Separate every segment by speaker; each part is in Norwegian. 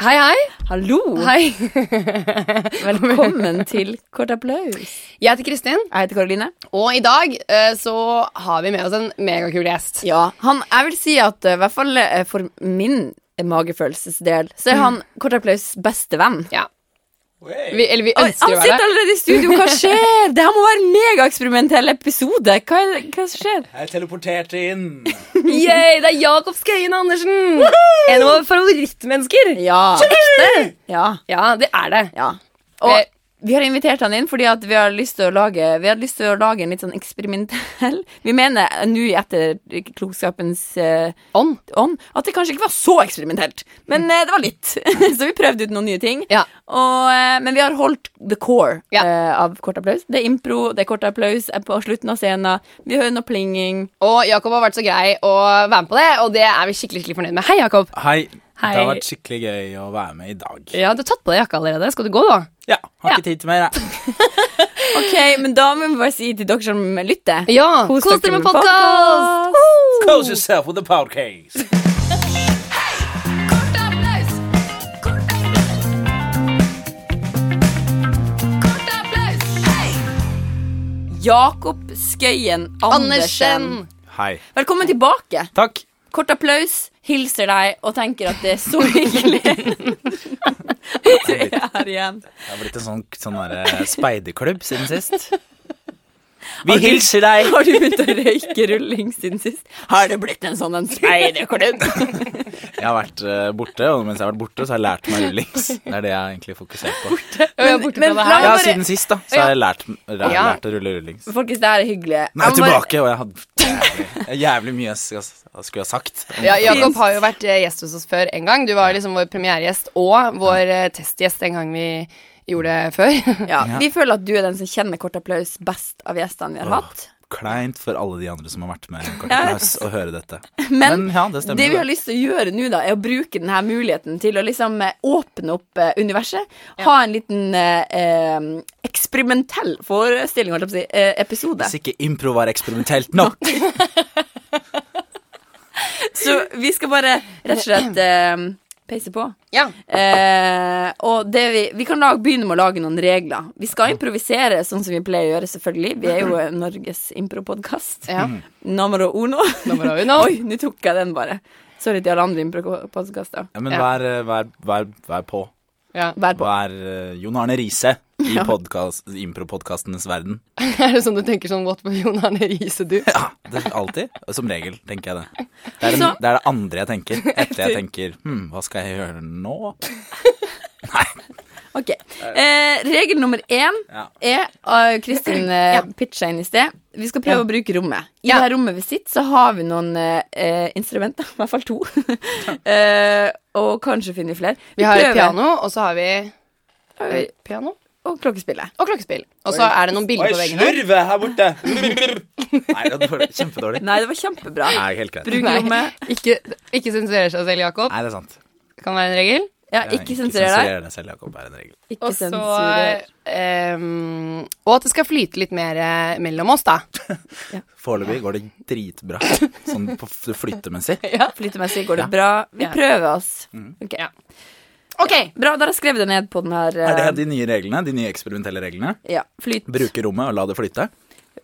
Speaker 1: Hei, hei.
Speaker 2: Hallo!
Speaker 1: Hei.
Speaker 2: Velkommen til Kort applaus.
Speaker 1: Jeg heter Kristin,
Speaker 2: Jeg heter Karoline.
Speaker 1: og i dag eh, så har vi med oss en megakul gjest.
Speaker 2: Ja, han, jeg vil si at eh, i hvert fall eh, for min eh, magefølelsesdel, så er han Kort applaus' beste venn.
Speaker 1: Ja. Vi, eller vi
Speaker 2: Oi, han
Speaker 1: ønsker å
Speaker 2: sitter
Speaker 1: være det.
Speaker 2: allerede i studio, hva skjer? Det her må være en megaeksperimentell episode. Hva, er, hva skjer?
Speaker 3: Jeg teleporterte inn.
Speaker 1: Yay, det er Jakob Skøyen Andersen! En av våre favorittmennesker.
Speaker 2: Ja. Ekte? Ja.
Speaker 1: Ja, det er det.
Speaker 2: ja. Og
Speaker 1: Eh.
Speaker 2: vi har invitert han inn fordi at vi har lyst til å lage Vi hadde lyst til å lage en litt sånn eksperimentell Vi mener eh, nå i etterklokskapens eh,
Speaker 1: Ånd.
Speaker 2: ånd at det kanskje ikke var så eksperimentelt, men eh, det var litt. så vi prøvde ut noen nye ting.
Speaker 1: Ja.
Speaker 2: Og, eh, men vi har holdt the core
Speaker 1: Ja.
Speaker 2: eh, av kort applaus. Det er impro, det er kort applaus er på slutten av scenen. Vi hører noe plinging.
Speaker 1: Og Jakob har vært så grei å være med på det, og det er vi skikkelig skikkelig fornøyd med. Hei, Jakob.
Speaker 3: Hei.
Speaker 1: Hei.
Speaker 3: Det har vært skikkelig gøy å være med i dag.
Speaker 1: Ja, Du har tatt på deg jakka allerede. Skal du gå, da?
Speaker 3: Ja, Har
Speaker 1: Ja.
Speaker 3: ikke tid til mer, jeg.
Speaker 2: Ok, men da må vi bare si til dere som lytter
Speaker 1: Ja. Kos dere med podkast!
Speaker 2: podcast.
Speaker 3: Close yourself with a podcast.
Speaker 2: Jakob Skøyen Andersen.
Speaker 1: Andersen.
Speaker 3: Hei.
Speaker 2: Velkommen tilbake.
Speaker 3: Takk.
Speaker 2: Kort applaus, hilser deg og tenker at det er så hyggelig at du er her igjen.
Speaker 3: Det har blitt en sånn, sånn derre speiderklubb siden sist. Vi hilser deg.
Speaker 2: Har du begynt å røyke rulling siden sist? Har det blitt en sånn en speiderklubb?
Speaker 3: Jeg har vært eh, borte, og mens jeg har vært borte, så har jeg lært meg rullings. Det er det jeg har egentlig fokusert på.
Speaker 1: Ja, jeg er borte fra
Speaker 2: men
Speaker 1: det
Speaker 2: la
Speaker 1: her.
Speaker 2: meg
Speaker 3: Ja,
Speaker 2: bare-
Speaker 3: siden sist, da, så har jeg lært, lært,
Speaker 1: Ja.
Speaker 3: lært å rulle rullings.
Speaker 2: Folkens, det her er hyggelig.
Speaker 3: Nå er
Speaker 2: Jeg må
Speaker 3: jeg
Speaker 2: bare-
Speaker 3: tilbake, og jeg hadde jævlig, jævlig mye jeg skal- skulle ha sagt.
Speaker 1: Ja, Jakob har jo vært eh, gjest hos oss før en gang. Du var liksom vår premieregjest og vår eh, testgjest en gang vi gjorde det før.
Speaker 2: Ja, vi føler at du er den som kjenner kort applaus best av gjestene vi har hatt.
Speaker 3: Kleint for alle de andre som har vært med i Kort applaus, å høre dette.
Speaker 2: Men
Speaker 3: ja, det
Speaker 2: Det vi
Speaker 3: stemmer.
Speaker 2: har lyst til å gjøre nå, da, er å bruke denne muligheten til å liksom eh, åpne opp eh, universet. Ha en liten eh, eh, eksperimentell forestilling, holdt jeg på å si, eh, episode.
Speaker 3: Hvis ikke impro var eksperimentelt nok.
Speaker 2: Så vi skal bare rett og slett eh, peise på.
Speaker 1: Ja.
Speaker 2: Eh, og det vi, vi kan lage, begynne med å lage noen regler. Vi skal improvisere sånn som vi pleier å gjøre, selvfølgelig. Vi er jo eh, Norges impropodkast.
Speaker 1: ja.
Speaker 2: Numero uno.
Speaker 1: Numero uno.
Speaker 2: Oi, nå tok jeg den bare. Sorry til alle andre impropodkaster.
Speaker 3: Ja, men
Speaker 1: Ja.
Speaker 3: vær, eh, vær, vær, vær på.
Speaker 1: Ja.
Speaker 2: Vær på.
Speaker 3: Vær eh, Jon Arne Riise i podcast- impro-podkastenes verden.
Speaker 1: Er det sånn du tenker sånn What will Jon Arne Riise do?
Speaker 3: Ja, det er alltid. Som regel, tenker jeg det. Det er, en,
Speaker 2: Så-
Speaker 3: det er det andre jeg tenker etter jeg tenker Hm, hva skal jeg gjøre nå?
Speaker 2: Ok. Eh, regel nummer én
Speaker 3: Ja.
Speaker 2: er uh, Kristin uh, pitcha inn i sted. Vi skal prøve å bruke rommet. I
Speaker 1: Ja.
Speaker 2: det her rommet vi sitter, så har vi noen eh, eh, instrumenter. I hvert fall to. eh, og kanskje finner vi flere.
Speaker 1: Vi har et
Speaker 2: prøver.
Speaker 1: piano, og så har vi eh,
Speaker 2: Oi,
Speaker 1: Piano
Speaker 2: Og klokkespillet.
Speaker 1: og klokkespill. Og så er det noen bilder på veggene.
Speaker 3: her borte! Nei, det var kjempedårlig.
Speaker 2: Nei, det var kjempebra.
Speaker 3: Nei, helt greit.
Speaker 2: Bruk
Speaker 1: Nei.
Speaker 2: rommet.
Speaker 1: Ikke, ikke sensurer seg selv, Jakob.
Speaker 3: Nei, det er sant.
Speaker 1: Kan være en regel.
Speaker 2: Ja,
Speaker 3: Ja,
Speaker 2: ikke sensurer deg.
Speaker 3: deg selv, Jakob, er en regel.
Speaker 2: Ikke
Speaker 1: Og så
Speaker 2: sensurer.
Speaker 1: ehm, Og at det skal flyte litt mer eh, mellom oss, da.
Speaker 3: Foreløpig går det dritbra, sånn på f- flyttemessig.
Speaker 2: Flytemessig går det bra. Vi
Speaker 1: Ja.
Speaker 2: prøver oss. Ok.
Speaker 1: Ja.
Speaker 2: Ok, Bra, da har jeg skrevet det ned på den her.
Speaker 3: Mm. Er det
Speaker 2: eh,
Speaker 3: de nye reglene? De nye eksperimentelle reglene?
Speaker 2: ja, flyt.
Speaker 3: Bruke rommet og la det flyte?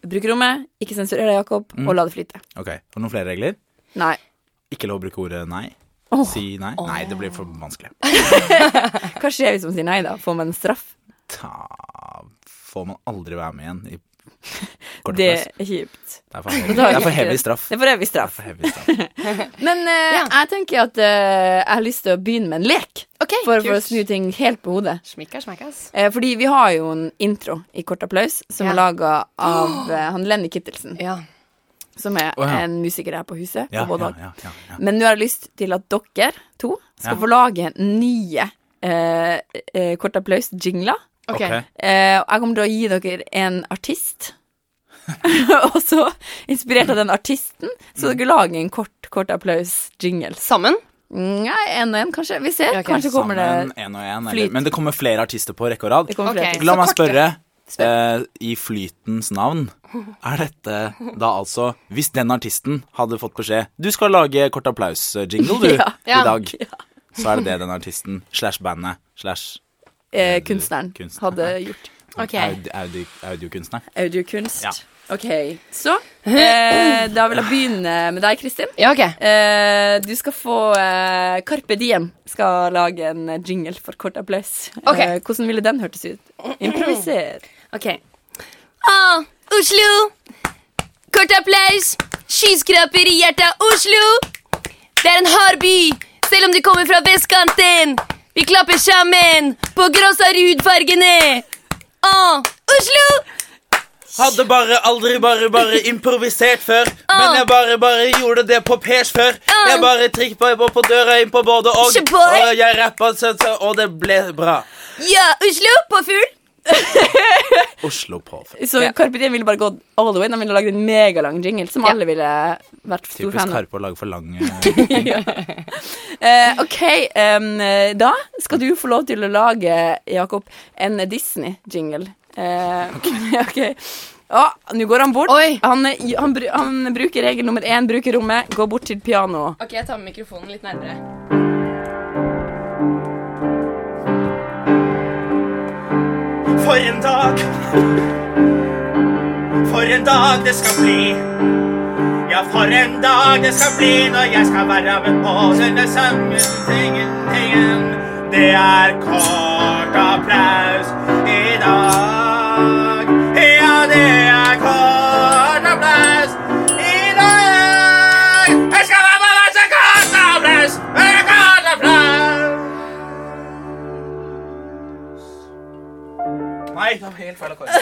Speaker 2: Bruk rommet, ikke sensurer deg, Jakob,
Speaker 3: Mm.
Speaker 2: og la det flyte.
Speaker 3: Ok, Har du noen flere regler?
Speaker 2: Nei.
Speaker 3: Ikke lov å bruke ordet nei.
Speaker 2: Åh.
Speaker 3: Si nei. Nei, det blir for vanskelig.
Speaker 2: Hva skjer hvis man sier nei, da? Får man en straff?
Speaker 3: Ta Får man aldri være med igjen i kort
Speaker 2: Det
Speaker 3: applaus.
Speaker 2: er kjipt.
Speaker 3: Det er for heavy,
Speaker 2: Da tar
Speaker 3: det
Speaker 2: vi
Speaker 3: er for
Speaker 2: ikke
Speaker 3: heavy
Speaker 2: det.
Speaker 3: straff.
Speaker 2: Det er for evig
Speaker 3: Det
Speaker 2: straff.
Speaker 3: er for heavy straff.
Speaker 2: Men eh, jeg tenker at eh, jeg har lyst til å begynne med en lek.
Speaker 1: Ok,
Speaker 2: For, for å
Speaker 1: kult.
Speaker 2: snu ting helt på hodet.
Speaker 1: Smikka smekkas.
Speaker 2: Eh, fordi vi har jo en intro i Kort applaus som
Speaker 1: Ja.
Speaker 2: er laga av eh, han Lenny Kittelsen,
Speaker 1: Ja.
Speaker 2: som er
Speaker 3: Å, ja.
Speaker 2: en musiker her på huset.
Speaker 3: Ja,
Speaker 2: på Bådal.
Speaker 3: ja, ja, ja, ja.
Speaker 2: Men nå har jeg lyst til at dere to skal
Speaker 3: Ja.
Speaker 2: få lage nye eh, eh, Kort applaus-jingler.
Speaker 1: Ok.
Speaker 3: Ok.
Speaker 2: Eh, og jeg kommer til å gi dere en artist. og så, inspirert av den artisten,
Speaker 3: Mm.
Speaker 2: så dere lager en kort, kort applaus-jingles.
Speaker 1: Sammen.
Speaker 2: Nei, en og en, kanskje. Vi ser.
Speaker 1: Ja, ok.
Speaker 2: Kanskje kommer det
Speaker 3: Sammen, en og en. Eller,
Speaker 2: flyt.
Speaker 3: men det kommer flere artister på rekke og rad.
Speaker 2: Det kommer
Speaker 1: Ok.
Speaker 2: flere til.
Speaker 3: La
Speaker 1: Så
Speaker 3: meg
Speaker 1: korte.
Speaker 3: spørre, eh, i flytens navn, er dette da altså Hvis den artisten hadde fått beskjed Du skal lage kort applaus-jingle, du,
Speaker 2: Ja,
Speaker 3: i
Speaker 1: ja.
Speaker 3: dag. så er det det den artisten slash bandet slash
Speaker 2: Eh, kunstneren
Speaker 3: Kunstner.
Speaker 2: hadde gjort.
Speaker 4: Ok.
Speaker 3: aud- audi- audiokunstneren.
Speaker 2: Audiokunst.
Speaker 3: Ja.
Speaker 2: OK. Så eh, da vil jeg begynne med deg, Kristin.
Speaker 1: Ja, ok.
Speaker 2: Eh, du skal få eh, Carpe Diem skal lage en eh, jingle for kort applaus.
Speaker 1: Ok.
Speaker 2: Eh, hvordan ville den hørtes ut? Improviser.
Speaker 4: Ok.
Speaker 1: Ah,
Speaker 4: Å, Oslo! Kort applaus! Skyskraper i hjertet av Oslo! Det er en hard by, selv om du kommer fra vestkanten. Vi klapper sammen på gross av hudfargene. Å,
Speaker 1: Ah,
Speaker 4: Oslo!
Speaker 3: Hadde bare aldri bare bare improvisert før. Men jeg bare bare gjorde det på pers før. Jeg bare trippa på, på døra inn på både og.
Speaker 4: Ikke boy.
Speaker 3: Og jeg rappa søtt, søtt, og det ble bra.
Speaker 4: Ja, Oslo på full.
Speaker 3: Oslo påfør.
Speaker 2: Så Carpe Diem ville bare gått all the way. De ville lagd en megalang jingle som alle ville vært stor
Speaker 3: Typisk
Speaker 2: fan av.
Speaker 3: Karpe å lage for lange
Speaker 2: Eh, OK, em, eh, da skal du få lov til å lage, Jakob, en Disney-jingle. Eh, OK. Å, nå går han bort.
Speaker 1: Oi.
Speaker 2: Han, eh, han, bru- han bruker regel nummer én, bruker rommet, gå bort til pianoet.
Speaker 1: Ok, jeg tar med mikrofonen litt nærmere.
Speaker 5: For en dag For en dag det skal bli Ja, for en dag det skal bli Når jeg skal være med på denne sangen Tingen, tingen Det er kort applaus i dag Ja, det er kort applaus i dag Jeg skal være med på denne kort applaus eh, Kort applaus
Speaker 3: Nei, det var helt feil akkord.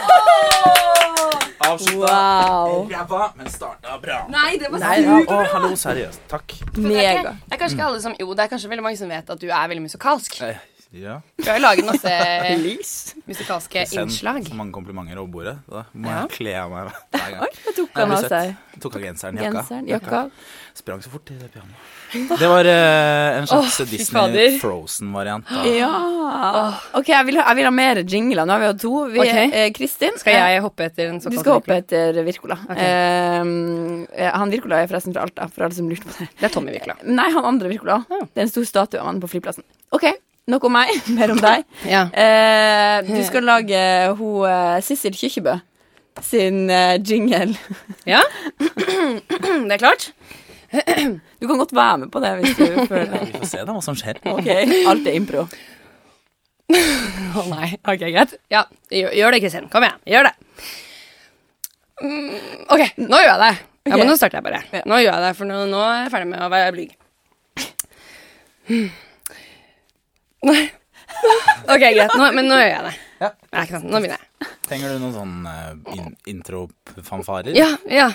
Speaker 3: Avslutta
Speaker 2: Wow.
Speaker 3: ræva, men starta bra.
Speaker 1: Nei, det var
Speaker 2: Nei, ja,
Speaker 3: Å, hallo, seriøst. Takk.
Speaker 2: mega.
Speaker 1: Det er kanskje ikke alle som Jo, det er kanskje veldig mange som vet at du er veldig musikalsk.
Speaker 3: Eh, Ja.
Speaker 1: Du har jo laget masse
Speaker 2: Lys.
Speaker 1: musikalske
Speaker 3: Send
Speaker 1: innslag.
Speaker 3: så mange komplimenter over bordet. Da må jeg kle av meg hver gang.
Speaker 2: Oi, da tok
Speaker 3: Jeg
Speaker 2: han
Speaker 3: blir
Speaker 2: av
Speaker 3: svett.
Speaker 2: seg
Speaker 3: Tok av genseren, jakka.
Speaker 2: genseren, jakka.
Speaker 3: Sprang så fort til det pianoet. Det var eh, en slags Disney
Speaker 1: fader.
Speaker 3: Frozen-variant. da.
Speaker 2: Ja. OK, jeg vil ha, jeg vil ha mer jingler. Nå har vi hatt to. Vi,
Speaker 1: Ok.
Speaker 2: eh, Kristin. Eh,
Speaker 1: Skal jeg hoppe etter en
Speaker 2: Du
Speaker 1: såkalt
Speaker 2: skal hoppe
Speaker 1: Wirkola?
Speaker 2: etter Wirkola. Ehm, eh, han Wirkola er forresten fra Alta, for alle som lurte på det.
Speaker 1: Det er Tommy Wirkola.
Speaker 2: Nei, han andre Wirkola.
Speaker 1: Ah.
Speaker 2: Det er en stor statue av han på flyplassen. OK, nok om meg. Mer om deg.
Speaker 1: Ja.
Speaker 2: Eh, du skal lage hun eh, Sissel Kyrkjebø sin eh, jingle.
Speaker 1: ja? Det er klart.
Speaker 2: Du kan godt være med på det hvis du føler det.
Speaker 3: Vi får se da hva som skjer.
Speaker 2: OK, alt er impro.
Speaker 1: Å nei. Ok, greit. Ja, gjør, gjør det, Kristin. Kom igjen. Gjør det. Mm, ok, nå gjør jeg det. Ja,
Speaker 2: Ok.
Speaker 1: men nå starter jeg bare.
Speaker 2: Ja.
Speaker 1: Nå gjør jeg det, for nå, nå er jeg ferdig med å være blyg. Mm. Nei. Ok, greit. Nå, men nå gjør jeg det.
Speaker 3: Ja.
Speaker 1: Nei, ikke sant. Nå begynner jeg.
Speaker 3: Trenger du noen sånn eh, in intro-fanfarer?
Speaker 1: Ja, ja.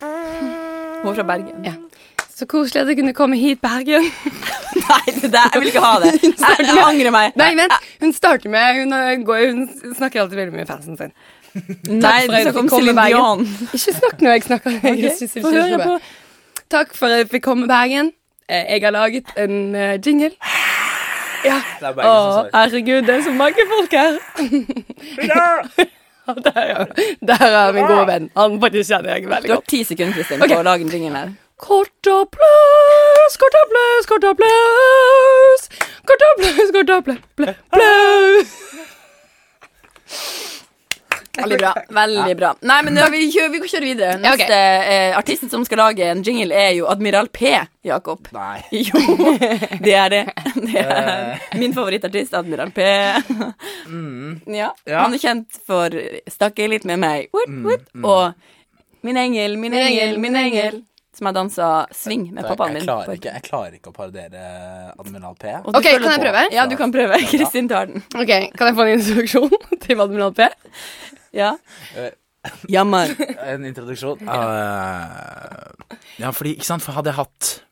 Speaker 2: Hun er fra Bergen.
Speaker 1: ja. Så koselig at du kunne komme hit, Bergen.
Speaker 2: Nei, det der, jeg vil ikke ha det. Jeg, jeg angrer meg.
Speaker 1: Nei, vent. Hun starter med Hun, eh, går, hun snakker alltid veldig mye med fansen sin.
Speaker 2: Nei, du
Speaker 1: for at
Speaker 2: snakker om
Speaker 1: du kom i
Speaker 2: Céline Dion.
Speaker 1: Bergen. Ikke snakk når jeg snakker. Jeg synes
Speaker 2: Få
Speaker 1: ikke det er så
Speaker 2: høre
Speaker 1: bra.
Speaker 2: på.
Speaker 1: Takk for at jeg fikk komme, Bergen. Eh, Jeg har laget en eh, jingle. Ja.
Speaker 3: Det er Bergen
Speaker 1: Å,
Speaker 3: som svarer.
Speaker 1: herregud, det er så mange folk her. Ja, Der er, der er min gode venn. Han faktisk kjenner jeg
Speaker 2: Du
Speaker 1: veldig
Speaker 2: har
Speaker 1: godt.
Speaker 2: ti sekunder Kristin,
Speaker 1: Ok.
Speaker 2: på å lage en jingle her.
Speaker 1: Kort applaus, kort applaus, kort applaus. Kort applaus, kort applaus, applaus, applaus.
Speaker 2: Veldig bra. veldig bra Nei, men da, vi, kjører, vi kjører videre.
Speaker 1: Ja,
Speaker 2: Neste
Speaker 1: ok.
Speaker 2: eh, artisten som skal lage en jingle, er jo Admiral P. Jakob.
Speaker 3: Nei.
Speaker 2: Jo, det er det. det er
Speaker 3: Eh.
Speaker 2: min favorittartist, Admiral P. Ja,
Speaker 3: Mm. Ja. Mm,
Speaker 2: Han er kjent for 'Snakke litt med meg' woot, woot, og 'Min engel, min engel, min engel', som jeg dansa swing med
Speaker 3: Jeg,
Speaker 2: pappaen min.
Speaker 3: jeg,
Speaker 2: på.
Speaker 3: klarer ikke, jeg klarer ikke å parodiere Admiral P.
Speaker 2: Og du
Speaker 1: Ok,
Speaker 2: føler
Speaker 1: kan jeg
Speaker 2: på.
Speaker 1: prøve?
Speaker 2: Ja, du kan prøve. Kristin tar den.
Speaker 1: Ok, Kan jeg få en instruksjon til Admiral P?
Speaker 2: Ja.
Speaker 3: Eh.
Speaker 2: Jammer.
Speaker 3: En introduksjon. Eh, ja, fordi Ikke sant, for hadde jeg hatt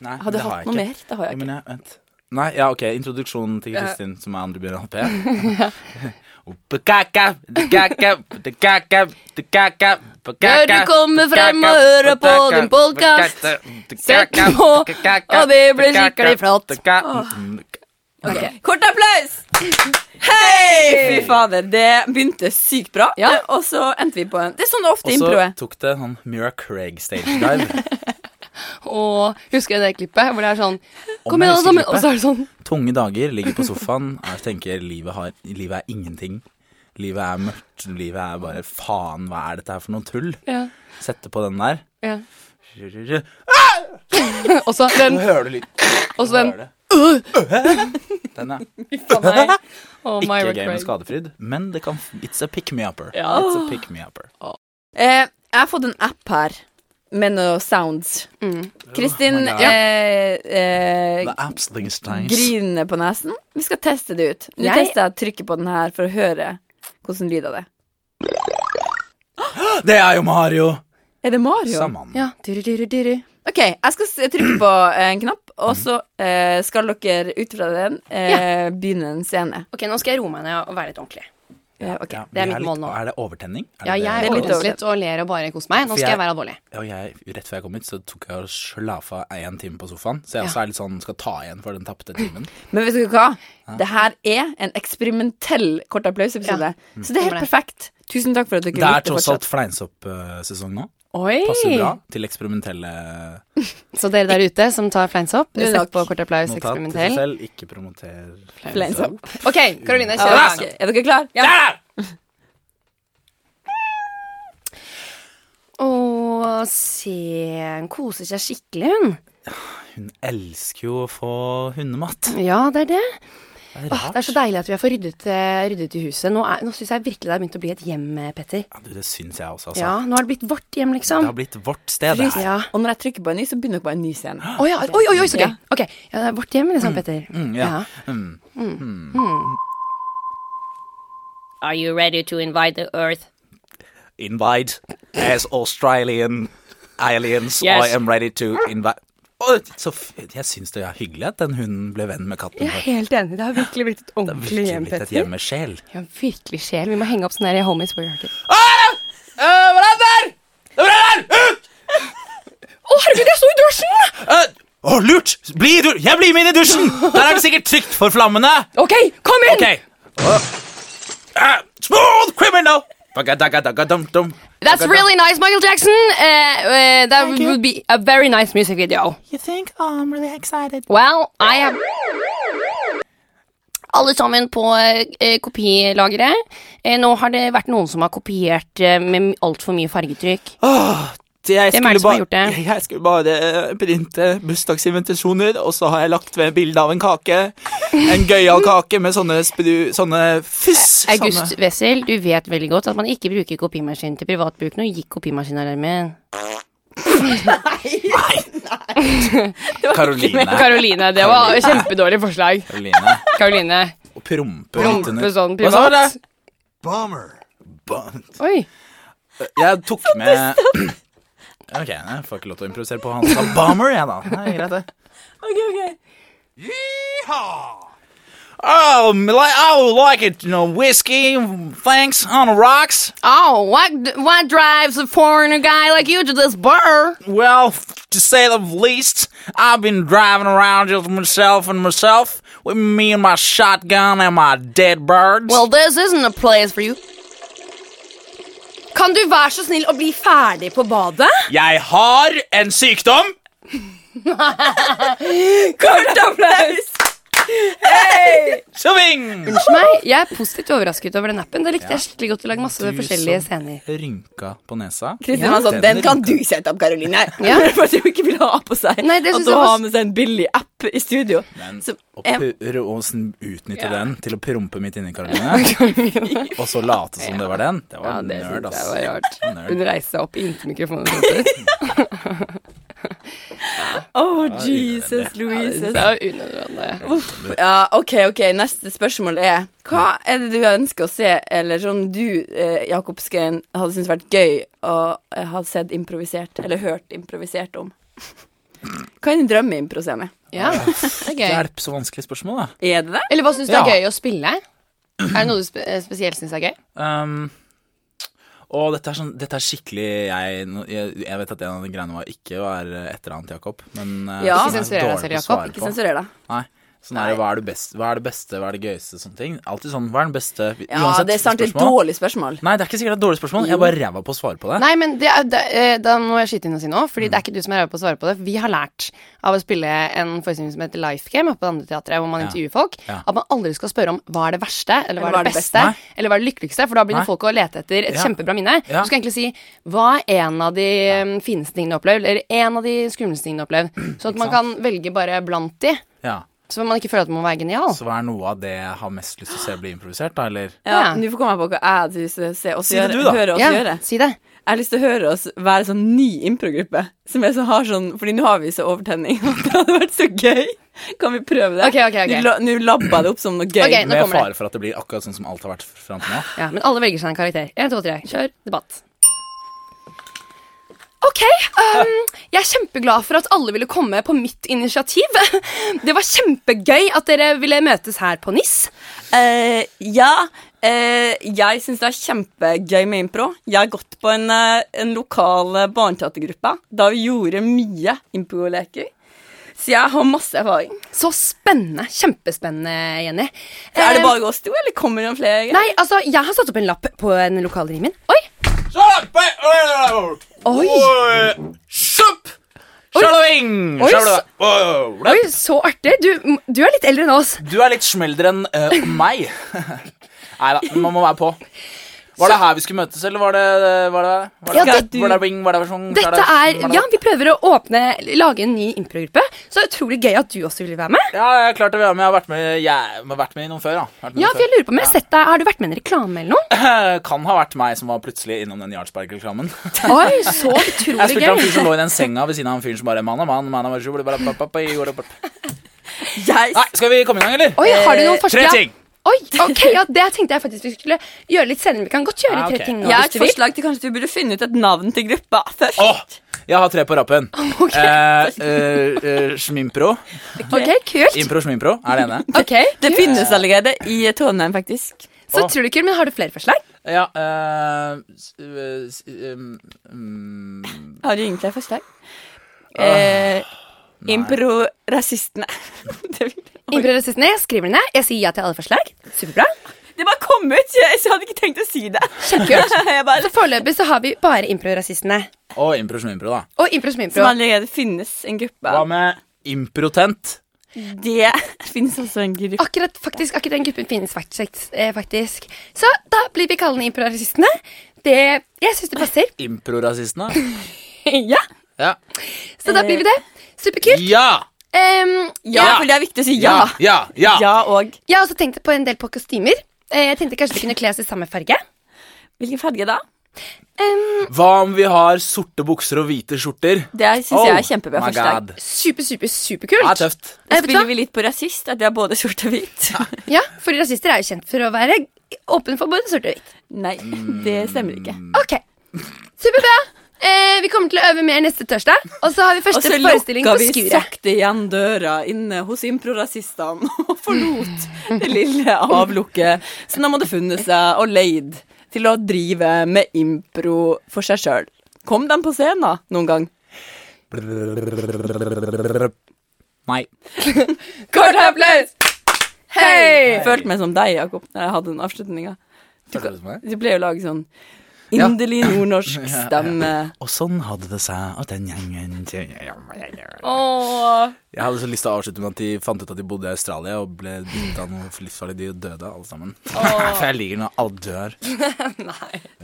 Speaker 3: Nei, men
Speaker 2: Hadde
Speaker 3: det har
Speaker 2: hatt
Speaker 3: jeg
Speaker 2: noe
Speaker 3: ikke.
Speaker 2: mer. Det har jeg
Speaker 3: Ja,
Speaker 2: ikke.
Speaker 3: men jeg, vent. Nei, ja, ok. Introduksjonen til Kristin, som er andre Bjørn P.
Speaker 4: Bør
Speaker 3: Bør
Speaker 4: du komme frem og høre på din podcast? Sett på, og det blir skikkelig flott.
Speaker 2: Ok. Kort applaus! Hei! Fy fader, det begynte sykt bra,
Speaker 1: Ja.
Speaker 2: og så endte vi på en Det er sånn det ofte
Speaker 3: Og så
Speaker 2: impro er.
Speaker 3: tok det sånn Mira Craig stage dive.
Speaker 1: Og husker jeg det klippet hvor det er sånn Kom
Speaker 3: jeg
Speaker 1: igjen, alle sammen!
Speaker 3: husker klippet.
Speaker 1: Og så er det sånn
Speaker 3: Tunge dager, ligger på sofaen og tenker livet, har, livet er ingenting. Livet er mørkt. Livet er bare faen, hva er dette her for noe tull?
Speaker 1: Ja.
Speaker 3: Sette på den der.
Speaker 1: ja.
Speaker 3: Nå
Speaker 1: Og så den,
Speaker 3: hører du lyd.
Speaker 1: og så den
Speaker 3: Hører det. Den, ja.
Speaker 1: Faen, nei. oh Og Myra
Speaker 3: Ikke gøy med
Speaker 1: Craig.
Speaker 3: skadefryd, men det kan It's a pick me upper.
Speaker 1: Ja.
Speaker 3: It's a pick me upper.
Speaker 2: Eh, jeg har fått en app her med noe sounds. Kristin
Speaker 3: Oh my God.
Speaker 2: eh, eh,
Speaker 3: The apps thing is nice.
Speaker 2: griner på nesen. Vi skal teste det ut. Nå
Speaker 1: Jeg-
Speaker 2: tester jeg å trykke på den her for å høre hvordan lyder det.
Speaker 3: Det er jo Mario!
Speaker 2: Er det Mario?
Speaker 3: Saman.
Speaker 1: Ja. Duru, duru, duru.
Speaker 2: Ok, jeg skal s- trykke på en knapp, og så eh, skal dere ut fra den eh, begynne en scene.
Speaker 1: Ok, nå skal jeg roe meg ned og være litt ordentlig.
Speaker 2: Eh, ok.
Speaker 3: Ja,
Speaker 1: det er
Speaker 3: vi
Speaker 1: mitt
Speaker 3: litt-
Speaker 1: mål nå.
Speaker 3: Er det overtenning? Er
Speaker 1: Ja,
Speaker 3: det-
Speaker 1: jeg
Speaker 2: er
Speaker 1: er
Speaker 2: litt
Speaker 1: litt litt og ler og bare koser meg. Nå
Speaker 3: For
Speaker 1: skal jeg
Speaker 3: jeg-
Speaker 1: være alvorlig.
Speaker 3: Ja, jeg, rett før jeg kom hit, så tok jeg og slafa én time på sofaen. Så jeg
Speaker 1: Ja.
Speaker 3: også er litt sånn skal ta igjen for den tapte timen.
Speaker 2: Men vet dere hva? Det her er en eksperimentell kort applaus-episode. Så det er helt
Speaker 1: Kommer det.
Speaker 2: perfekt. Tusen takk for at dere
Speaker 3: Det er
Speaker 2: lytter
Speaker 3: tross alt
Speaker 2: fortsatt.
Speaker 3: fleinsopp-sesong nå.
Speaker 1: Oi!
Speaker 3: Passer bra til eksperimentelle
Speaker 1: Så dere der ute som tar fleinsopp,
Speaker 2: Nå
Speaker 1: sett
Speaker 2: nok.
Speaker 1: på Kort applaus
Speaker 3: notat til seg
Speaker 1: eksperimentell.
Speaker 3: selv. Ikke promoter
Speaker 2: Fleinsopp.
Speaker 1: Ok, Karoline,
Speaker 2: Ja,
Speaker 1: kjør i gang.
Speaker 2: ok. Er dere klare? Ja.
Speaker 1: Å, se, hun koser seg skikkelig, hun.
Speaker 3: Hun elsker jo å få hundemat.
Speaker 1: Ja, det er det.
Speaker 3: Det er
Speaker 1: Åh,
Speaker 3: rart.
Speaker 1: det er så deilig at vi har fått ryddet, eh, ryddet i huset. Nå, er- nå syns jeg virkelig det har begynt å bli et hjem, eh, Petter.
Speaker 3: Ja, du, det syns jeg også, altså.
Speaker 1: Ja, nå har det blitt vårt hjem,
Speaker 3: Det har
Speaker 1: liksom.
Speaker 3: blitt vårt sted. Det her.
Speaker 1: Ja.
Speaker 2: Og når jeg trykker på en ny, så begynner dere på en ny scene.
Speaker 1: Å ja. Oi, oi, oi, så
Speaker 2: Ja.
Speaker 1: gøy. Ok, ja, det er vårt hjem, liksom, Petter.
Speaker 3: Mm, ja. Mm.
Speaker 4: Are you ready to invite the earth?
Speaker 3: Invite as Australian aliens.
Speaker 4: Yes.
Speaker 3: I am ready to invite Åh, så f jeg syns det er hyggelig at den hunden ble venn med katten.
Speaker 1: Jeg er helt enig. Det har virkelig blitt et
Speaker 3: Det har
Speaker 1: ordentlig
Speaker 3: virkelig
Speaker 1: hjem,
Speaker 3: blitt et
Speaker 1: Petter.
Speaker 3: hjemme sjel.
Speaker 1: Ja, virkelig sjel. Vi må henge opp sånne der homies på hjertet. Å, herregud, jeg sto i dusjen!
Speaker 3: Eh, Å, lurt! Bli i du- jeg blir med inn i dusjen! Der er det sikkert trygt for flammene.
Speaker 1: Ok, kom inn!
Speaker 3: Ok. Eh, smooth criminal! Bagadagadagadum-dum.
Speaker 4: That's really nice, Michael Jackson. Uh, uh, that would be a very nice music video.
Speaker 3: You think? Oh, I'm really excited.
Speaker 4: Well, I am Alle sammen på eh, kopilageret. Eh, nå har det vært noen som har kopiert eh, med altfor mye fargetrykk.
Speaker 3: jeg
Speaker 4: Hvem er det
Speaker 3: skulle
Speaker 4: som har
Speaker 3: bare,
Speaker 4: gjort det?
Speaker 3: Jeg skulle bare eh, printe bursdagsinvitasjoner, og så har jeg lagt ved bilde av en kake. En gøyal kake med sånne, spru, sånne fyss.
Speaker 4: August
Speaker 3: sånne-
Speaker 4: Wessel, du vet veldig godt at man ikke bruker kopimaskin til privat bruk. Nå gikk kopimaskinalarmen.
Speaker 3: Karoline.
Speaker 1: Karoline, det var et kjempedårlig forslag.
Speaker 3: Karoline.
Speaker 1: Karoline.
Speaker 3: Og prompe. litt under.
Speaker 1: Prompe sånn
Speaker 3: Hva sa
Speaker 1: privat.
Speaker 3: Ba-
Speaker 1: Oi.
Speaker 3: Jeg tok med Ok, jeg får ikke lov til å improvisere på han sa bomber, jeg, da. Nei, greit, det. Oh, m- like, oh, like it, you know, whiskey, thanks, on the rocks.
Speaker 4: Oh, what, what drives a foreigner guy like you to this bar?
Speaker 3: Well, f- to say the least, I've been driving around just myself and myself, with me and my shotgun and my dead birds.
Speaker 4: Well, this isn't a place for you.
Speaker 1: Kan du være så snill å bli ferdig på badet?
Speaker 3: jeg har en sykdom.
Speaker 1: Kort applaus!
Speaker 3: Sving!
Speaker 1: Unnskyld meg, jeg er positivt overrasket over den appen. Det likte jeg skikkelig godt. Vi lager masse er forskjellige scener.
Speaker 3: Rynka på nesa.
Speaker 2: Kristin var sånn, Den kan du sette opp, Karoline.
Speaker 1: Ja.
Speaker 2: For at hun ikke vil ha på seg
Speaker 1: Nei, det
Speaker 2: at
Speaker 1: synes
Speaker 2: hun
Speaker 1: jeg var-
Speaker 2: har med seg en billig app i studio.
Speaker 3: Men
Speaker 2: Som
Speaker 3: å
Speaker 2: er-
Speaker 3: purre og sn- utnytte den til å prompe midt inni Karoline, og så late som det var den, det var
Speaker 1: Ja, det synes
Speaker 3: nerd, ass.
Speaker 1: jeg var rart. Hun
Speaker 3: Nerd.
Speaker 1: reiste seg opp inntil mikrofonen. Det
Speaker 2: Oh, Jesus Louise.
Speaker 1: er jo unødvendig.
Speaker 2: Ja, ok, ok, neste spørsmål er Hva er det du ønsker å se, eller som du, eh, Jakob Skøyen, hadde syntes vært gøy å eh, ha sett improvisert, eller hørt improvisert om? Hva er din drømmeimpro-scene?
Speaker 1: Ja, det er gøy.
Speaker 3: Hjelp, så vanskelig spørsmål, da.
Speaker 2: Er det det?
Speaker 1: Eller hva syns du er
Speaker 3: Ja.
Speaker 1: gøy å spille? Er det noe du spe eh, spesielt syns er gøy?
Speaker 3: Um, og dette er, sånn, dette er skikkelig jeg, nå- jeg, jeg vet at en av de greiene var ikke å være et eller annet Jakob, men eh,
Speaker 2: Ja.
Speaker 1: Ikke
Speaker 3: som er
Speaker 1: sensurer deg
Speaker 3: dårlig
Speaker 1: selv,
Speaker 3: på å
Speaker 1: Jakob.
Speaker 3: svare
Speaker 2: Ikke
Speaker 3: på.
Speaker 2: sensurer deg.
Speaker 3: Nei. Sånn her, hva er det beste, hva er det, beste, hva er det gøyeste, sånne ting. Alltid sånn, hva er den beste
Speaker 2: Ja, det er sant. Det er et dårlig spørsmål.
Speaker 3: Nei, det er ikke sikkert det er et dårlig spørsmål. Jeg er bare ræva på å svare på det.
Speaker 1: Nei, men det er, det, eh, da må jeg skyte inn og si noe, fordi det er ikke du som er ræva på å svare på det. Vi har lært av å spille en forestilling som heter Life Game oppe på det andre teatret, hvor man
Speaker 3: Ja.
Speaker 1: intervjuer folk,
Speaker 3: Ja.
Speaker 1: at man aldri skal spørre om hva er det verste, eller hva er det beste,
Speaker 3: Nei.
Speaker 1: eller hva er det lykkeligste, for da begynner
Speaker 3: Nei.
Speaker 1: folk å lete etter et
Speaker 3: Ja.
Speaker 1: kjempebra minne.
Speaker 3: Ja.
Speaker 1: Du skal egentlig si hva er en av de eh, fineste tingene du har opplevd, eller en av de skumleste tingene du har opplevd, sånn at man kan velge bare blant de,
Speaker 3: Ja.
Speaker 1: så man ikke føler at man må være genial.
Speaker 3: Så hva er noe av det jeg har mest lyst til å se bli improvisert, da, eller?
Speaker 1: Ja.
Speaker 2: Ja, Nå får komme på hva jeg hadde lyst til å se oss
Speaker 3: Si det
Speaker 2: gjøre.
Speaker 3: du, da.
Speaker 2: Høre oss
Speaker 1: ja,
Speaker 2: gjøre.
Speaker 1: si det.
Speaker 2: Jeg har lyst til å høre oss være sånn ny improgruppe. Som er sånn, har sånn Fordi nå har vi så overtenning. og Det hadde vært så gøy. Kan vi prøve det?
Speaker 1: Ok, ok, ok.
Speaker 2: Nå la- Nå labba det opp som noe gøy.
Speaker 1: Ok, nå
Speaker 3: Med
Speaker 1: kommer det.
Speaker 3: fare for at det blir akkurat sånn som alt har vært fram til nå.
Speaker 1: Ja, men alle velger seg en karakter. 1, 2, 3, kjør debatt.
Speaker 4: Ok, ehm, jeg er kjempeglad for at alle ville komme på mitt initiativ. Det var kjempegøy at dere ville møtes her på NIS.
Speaker 2: Eh, ja, eh, jeg syns det er kjempegøy med impro. Jeg har gått på en, eh, en lokal eh, barneteatergruppe da vi gjorde mye improleker. Så jeg har masse erfaring.
Speaker 4: Så spennende. Kjempespennende, Jenny.
Speaker 2: Er det
Speaker 4: Eh,
Speaker 2: bare oss to, eller kommer det noen flere?
Speaker 4: Nei, altså, jeg har satt opp en lapp på en lokalrim min. Oi!
Speaker 3: Oi! Sopp! Sjalowing!
Speaker 4: Oi,
Speaker 3: Sjalowing! Wow.
Speaker 4: Oi, Så artig. Du, du er litt eldre enn oss.
Speaker 3: Du er litt smeldre enn eh, meg. Nei da, man må være på. Var det her vi skulle møtes, eller var det Var det, var det,
Speaker 4: Ja,
Speaker 3: var det,
Speaker 4: det-
Speaker 3: var det, bing, var det, versjon,
Speaker 4: Dette
Speaker 3: var
Speaker 4: er,
Speaker 3: det- var det-
Speaker 4: ja, Vi prøver å åpne, lage en ny improgruppe. Så det er utrolig gøy at du også vil være med.
Speaker 3: Ja, jeg er klart å være med. Jeg har vært med, jeg, har vært med i noen før. Altså, Ja, Vært med i
Speaker 4: Ja,
Speaker 3: noen
Speaker 4: for jeg
Speaker 3: før.
Speaker 4: lurer på om jeg Har sett deg Har du vært med i en reklame eller noe?
Speaker 3: Kan ha vært meg som var plutselig innom den Jarlsberg-reklamen.
Speaker 4: Oi, så
Speaker 3: Jeg
Speaker 4: utrolig
Speaker 3: spilte han fyren
Speaker 4: gøy.
Speaker 3: som lå i den senga ved siden av han fyren som bare mann og mann, mann og mann, bare, bare, bare, bare, gjorde bort.
Speaker 2: Jeg,
Speaker 3: Nei, skal vi komme i gang, eller?
Speaker 4: Oi, har du noen
Speaker 3: Eh, Tre
Speaker 4: forslag?
Speaker 3: ting.
Speaker 4: Oi, ok, ja, Det tenkte jeg faktisk vi skulle gjøre litt senere. Vi kan godt kjøre
Speaker 3: Ja,
Speaker 4: tre
Speaker 3: ok.
Speaker 4: ting nå.
Speaker 2: jeg har
Speaker 4: hvis
Speaker 2: et
Speaker 4: du vil.
Speaker 2: forslag til kanskje du burde finne ut et navn til gruppa først.
Speaker 3: Åh, jeg har tre på rappen. Eh, eh, eh, Smimpro.
Speaker 4: Ok, kult.
Speaker 3: Impro-smimpro er det ene.
Speaker 4: Ok,
Speaker 2: Det finnes allerede i Trondheim, faktisk.
Speaker 4: Så
Speaker 3: Åh.
Speaker 4: utrolig kult. Men har du flere forslag?
Speaker 3: Ja eh, s- eh, s- um, um,
Speaker 2: Har du ingen flere forslag? Eh, Impro-rasistene. det vil-
Speaker 4: Improvisistene, jeg skriver det ned. Jeg sier ja til alle forslag. Superbra.
Speaker 2: Det bare kom ut! Jeg, så jeg hadde ikke tenkt å si det.
Speaker 4: Kjempekult.
Speaker 2: Jeg bare,
Speaker 4: Så foreløpig så har vi bare improrasistene.
Speaker 3: og impro-smimpro, da.
Speaker 4: Og impro som impro.
Speaker 2: som allerede finnes en
Speaker 3: Hva
Speaker 2: gruppe.
Speaker 3: med improtent?
Speaker 2: Det finnes også en gruppe.
Speaker 4: Akkurat, faktisk, akkurat den gruppen finnes faktisk. eh, faktisk. Så da blir vi kallende improrasistene. Det, jeg syns det passer.
Speaker 3: Improrasistene?
Speaker 4: ja.
Speaker 3: Ja.
Speaker 4: Så da blir vi det. Superkult.
Speaker 3: Ja!
Speaker 4: Em,
Speaker 2: Ja,
Speaker 3: Ja.
Speaker 2: for det er viktig å si ja.
Speaker 3: Ja! Ja! ja.
Speaker 2: Ja og
Speaker 4: jeg har også tenkt på en del på kostymer. Eh, jeg tenkte kanskje vi kunne kle oss i samme farge.
Speaker 2: Hvilken farge da?
Speaker 4: Em,
Speaker 3: Hva om vi har sorte bukser og hvite skjorter?
Speaker 2: Det syns jeg er kjempebra
Speaker 3: Oh my
Speaker 2: forslag.
Speaker 3: God.
Speaker 4: super, super,
Speaker 3: Det er
Speaker 4: superkult.
Speaker 3: tøft.
Speaker 4: Eh,
Speaker 2: Da
Speaker 4: vet du
Speaker 2: spiller
Speaker 4: hva?
Speaker 2: vi litt på rasist, at vi har både sort og hvit.
Speaker 4: Ja, for rasister er jo kjent for å være åpne for både sort og hvitt.
Speaker 2: Nei, det stemmer ikke.
Speaker 4: Ok, Superbra. Eh, vi kommer til å øve mer neste torsdag. Og så har vi
Speaker 2: Og
Speaker 4: første
Speaker 2: så
Speaker 4: forestilling
Speaker 2: lukka
Speaker 4: på
Speaker 2: vi
Speaker 4: Skuret.
Speaker 2: sakte igjen døra inne hos improrasistene og forlot det lille avlukket som de hadde funnet seg og leid til å drive med impro for seg sjøl. Kom de på scenen da, noen gang?
Speaker 3: Nei.
Speaker 4: Kort applaus! Hei!
Speaker 2: Jeg følte meg som deg, Jakob, når jeg hadde den avslutninga. Du pleier å lage sånn
Speaker 3: Ja.
Speaker 2: inderlig nordnorsk stemme.
Speaker 3: Og sånn hadde det seg at den gjengen Jeg
Speaker 4: Åh.
Speaker 3: hadde så lyst til å avslutte med at de fant ut at de bodde i Australia og ble bitt av noe livsfarlig dyr og døde, alle sammen. For jeg liker når alle dør. Ja.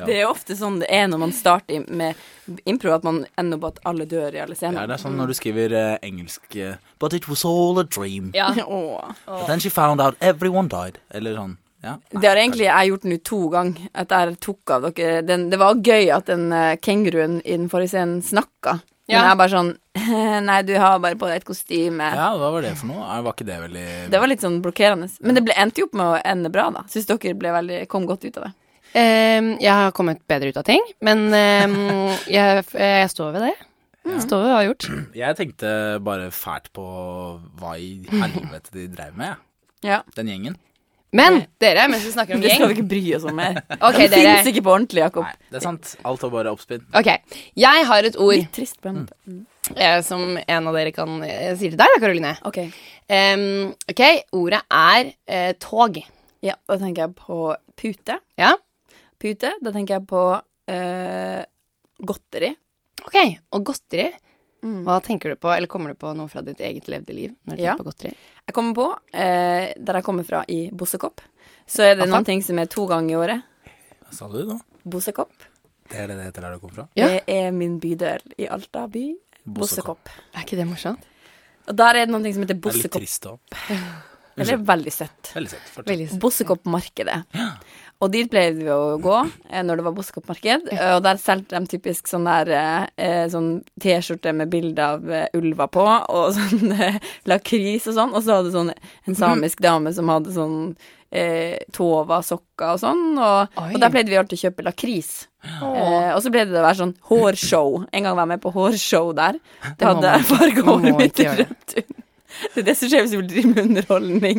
Speaker 2: Det er jo ofte sånn det er når man starter im- med impro, at man ender på at alle dør i alle
Speaker 3: Ja,
Speaker 2: scener.
Speaker 3: det er sånn når du skriver eh, engelsk eh, But it was all a dream.
Speaker 4: Ja.
Speaker 2: Åh.
Speaker 3: But Then she found out everyone died. Eller sånn. Ja.
Speaker 2: Det har egentlig jeg gjort nå to ganger. At jeg tok av dere den, Det var gøy at den eh, kenguruen i den forrige scenen snakka. Men
Speaker 4: Ja.
Speaker 2: jeg bare sånn Nei, du har bare på deg et kostyme.
Speaker 3: ja, hva var det for noe? Eh, Var ikke det veldig
Speaker 2: Det var litt sånn blokkerende. Men det ble, endte jo opp med å ende bra, da. Syns dere ble veldig, kom godt ut av det.
Speaker 1: Ehm, jeg har kommet bedre ut av ting, men ehm, jeg,
Speaker 4: eh,
Speaker 1: jeg står ved det.
Speaker 2: Mm.
Speaker 1: Jeg står ved hva jeg har gjort.
Speaker 3: Jeg tenkte bare fælt på hva i helvete de drev med, jeg.
Speaker 2: Ja.
Speaker 3: Den gjengen.
Speaker 1: Men dere, mens vi snakker om
Speaker 2: Det skal vi
Speaker 1: gjeng
Speaker 2: ikke bry oss om mer.
Speaker 1: Ok,
Speaker 2: det
Speaker 1: dere.
Speaker 2: fins ikke på ordentlig, Jakob.
Speaker 3: Nei, det er sant. Alt var bare oppspinn.
Speaker 1: Ok, jeg har et ord
Speaker 2: Trist på en måte.
Speaker 1: eh, som en av dere kan
Speaker 4: eh,
Speaker 1: Jeg sier til deg, da, Karoline.
Speaker 2: Ok.
Speaker 1: Em, ok, ordet er eh, tog.
Speaker 2: Ja, da tenker jeg på pute.
Speaker 1: Ja?
Speaker 2: Pute, da tenker jeg på eh, godteri.
Speaker 1: Ok, og godteri. Hva tenker du på, eller kommer du på noe fra ditt eget levde liv? Når du
Speaker 2: Ja.
Speaker 1: tenker på godteri?
Speaker 2: Jeg kommer på, eh, der jeg kommer fra i Bossekopp, så er det noen ting som er to ganger i året.
Speaker 3: Hva sa du nå?
Speaker 2: Bossekopp.
Speaker 3: Det er det det heter der du kom fra?
Speaker 1: Ja.
Speaker 2: Det er min bydel i Alta by.
Speaker 3: Bossekopp.
Speaker 2: Bossekopp.
Speaker 1: Er ikke det morsomt?
Speaker 2: Og der er det noen ting som heter
Speaker 3: Det er litt liksom.
Speaker 2: Bossekopp.
Speaker 3: trist òg.
Speaker 2: Det er veldig søtt.
Speaker 3: Veldig søtt. Fortsett.
Speaker 1: Veldig søtt.
Speaker 2: Bossekoppmarkedet. Og dit pleide vi å gå eh, når det var bossekoppmarked. eh, Og der solgte de typisk sånn der eh, eh, sånn T-skjorte med bilde av eh, ulver på, og sånn eh, lakris og sånn. Og så hadde sånn en samisk dame som hadde sånn eh, tova-sokker og sånn. Og,
Speaker 1: Oi.
Speaker 2: og der pleide vi alltid å kjøpe lakris. Eh, og så ble det å være sånn hårshow. En gang var jeg med på hårshow der.
Speaker 1: Det
Speaker 2: Det
Speaker 1: må
Speaker 2: hadde
Speaker 1: man
Speaker 2: jeg farga
Speaker 1: Man må
Speaker 2: håret mitt
Speaker 1: ikke gjøre det.
Speaker 2: rødt under. Det er det som skjer hvis du vil drive med underholdning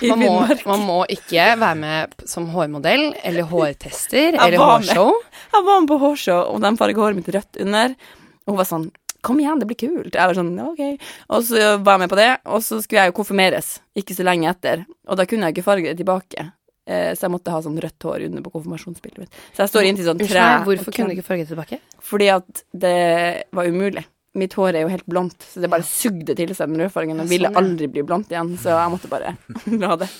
Speaker 2: i
Speaker 1: Man må,
Speaker 2: Finnmark.
Speaker 1: man må ikke være med p- som hårmodell eller hårtester
Speaker 2: Jeg
Speaker 1: eller
Speaker 2: var med.
Speaker 1: hårshow.
Speaker 2: Jeg var med på hårshow, og de farget håret mitt rødt under. Og hun var sånn Kom igjen, det blir kult. Jeg var sånn, «Ja, ok. Og så var jeg med på det, og så skulle jeg jo konfirmeres ikke så lenge etter. Og da kunne jeg ikke farge det tilbake, eh, så jeg måtte ha sånn rødt hår under på konfirmasjonsbildet mitt. Så jeg står inntil sånn
Speaker 1: Unnskyld
Speaker 2: tre
Speaker 1: meg, hvorfor kunne du ikke farge det tilbake?
Speaker 2: Fordi at det var umulig. Mitt hår er jo helt blondt, så det bare sugde til seg den rødfargen og
Speaker 1: sånn,
Speaker 2: ville aldri bli blondt igjen, så jeg måtte bare la det.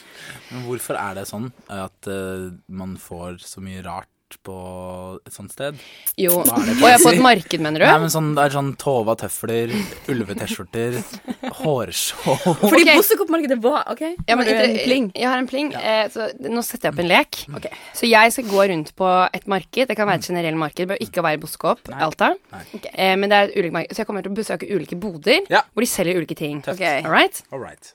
Speaker 3: Men hvorfor er det sånn at eh, man får så mye rart på et sånt sted?
Speaker 1: Jo,
Speaker 3: Hva er det
Speaker 1: og jeg på
Speaker 3: jeg
Speaker 1: et marked, mener
Speaker 3: Nei,
Speaker 1: du?
Speaker 3: men sånn, Det er sånn Tova tøfler, ulve-T-skjorter, hårshow
Speaker 2: Fordi
Speaker 1: Ok.
Speaker 2: bossekoppmarkedet var OK?
Speaker 1: Ja, men
Speaker 2: Var det en
Speaker 1: inter-
Speaker 2: pling?
Speaker 1: Jeg har en pling. Mm. Eh, så nå setter jeg opp en lek. Så jeg skal gå rundt på et marked. Det kan være et generelt marked. Det bør ikke være Boskop, Alta.
Speaker 3: Nei.
Speaker 1: Eh, men det er et ulikt marked. Så jeg kommer til å besøke ulike boder
Speaker 3: Ja.
Speaker 1: hvor de selger ulike ting.
Speaker 3: Tøft.
Speaker 1: All right?
Speaker 3: All right.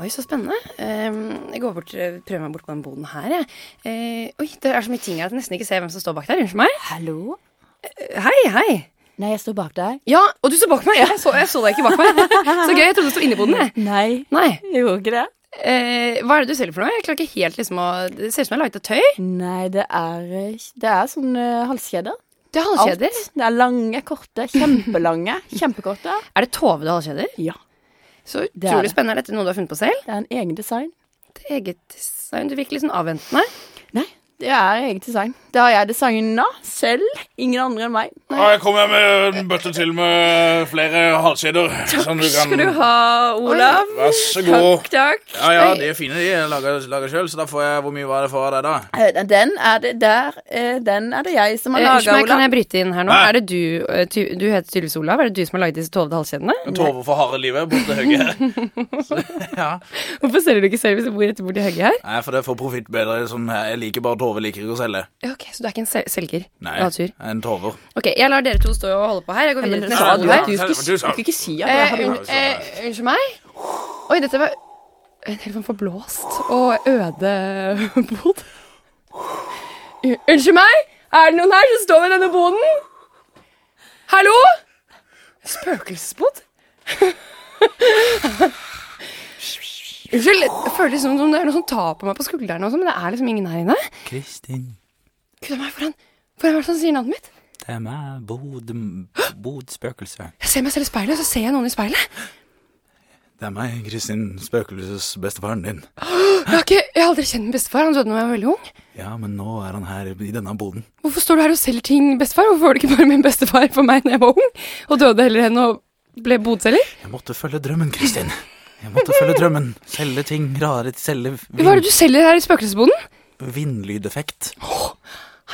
Speaker 1: Oi, så spennende. Eh, jeg går bort, prøver meg bort på den boden her, jeg. Eh, oi, det er så mye ting her at jeg nesten ikke ser hvem som står bak der. Unnskyld meg.
Speaker 2: Hallo?
Speaker 1: Hei, hei.
Speaker 2: Nei, jeg står bak deg.
Speaker 1: Ja, og du står bak meg. Jeg så, jeg så deg ikke bak meg. Så gøy. Jeg trodde du sto inni boden, jeg.
Speaker 2: Nei.
Speaker 1: Nei.
Speaker 2: Gjorde ikke det?
Speaker 1: Eh, hva er det du selger for noe? Jeg klarer ikke helt liksom å Det ser ut som jeg har laget av tøy.
Speaker 2: Nei, det er ikke- Det er sånn uh, halskjeder.
Speaker 1: Det er halskjeder.
Speaker 2: Alt. Det er lange, korte, kjempelange, kjempekorte.
Speaker 1: Er det Tove du har halskjeder?
Speaker 2: Ja.
Speaker 1: Så
Speaker 2: Det er
Speaker 1: utrolig
Speaker 2: det.
Speaker 1: spennende. Er dette noe du har funnet på selv?
Speaker 2: Det er en egen design.
Speaker 1: Ditt eget design. Du virker litt sånn avventende.
Speaker 2: Nei, det er egen design. Det har jeg designa selv. Ingen andre enn meg.
Speaker 6: Her kommer jeg med en bøtte til med flere halskjeder. Som du kan
Speaker 2: ha,
Speaker 1: Olav.
Speaker 6: Vær så god.
Speaker 2: Takk.
Speaker 6: Ja, ja, de er fine, de. Jeg lager, lager sjøl, så da får jeg Hvor mye var det for deg, da?
Speaker 2: Eh, Den er det der eh, Den er det jeg som har
Speaker 1: Eh, Unnskyld
Speaker 2: laga,
Speaker 1: meg, kan
Speaker 2: Olav.
Speaker 1: jeg bryte inn her nå?
Speaker 6: Nei.
Speaker 1: Er det du eh, ty Du heter tydeligvis Olav. Er det du som har laget disse tovede halskjedene?
Speaker 6: En tove for harde livet borte høyre.
Speaker 1: Hvorfor selger du ikke selv hvis du bor rett borti høyet her?
Speaker 6: Nei, for det er for profitt bedre. Sånn, her. jeg liker bare Tove, liker ikke å selge.
Speaker 1: Ja, Ok, Så du er ikke en sel selger?
Speaker 6: Nei,
Speaker 1: Ja, tur.
Speaker 6: en tover.
Speaker 1: Ok, jeg lar dere to stå og holde på her. Jeg går videre til neste
Speaker 6: du
Speaker 1: ord her.
Speaker 6: er-
Speaker 2: Du skulle-
Speaker 6: Du sa-
Speaker 2: du skulle ikke si at jeg
Speaker 1: Eh,
Speaker 2: hadde
Speaker 1: unn- eh, Unnskyld meg. Oi, dette var en helt sånn forblåst og øde bod. Un- Unnskyld meg? Er det noen her som står ved denne boden? Hallo? Spøkelsesbod? Unnskyld, det føles liksom som om det er noen som tar på meg på skuldrene, og sånn, men det er liksom ingen her inne.
Speaker 3: Kristin,
Speaker 1: Gud a meg, for en- for en er det som sier navnet mitt?
Speaker 3: det er meg, bod, bod spøkelse.
Speaker 1: Jeg ser meg selv i speilet, og så ser jeg noen i speilet.
Speaker 6: Det er meg, Kristin, spøkelses bestefaren din.
Speaker 1: Jeg har, ikke, jeg har aldri kjent min bestefar, han døde da jeg var veldig ung.
Speaker 6: Ja, men nå er han her i denne boden.
Speaker 1: Hvorfor står du her og selger ting, bestefar? Hvorfor var du ikke bare min bestefar for meg når jeg var ung, og døde heller enn å ble bodselger?
Speaker 6: Jeg måtte følge drømmen, Kristin. Jeg måtte følge drømmen. Selge ting rare, selge
Speaker 3: Mm.
Speaker 1: Hva
Speaker 6: vin,
Speaker 1: er det du selger her i spøkelsesboden?
Speaker 6: vindlydeffekt.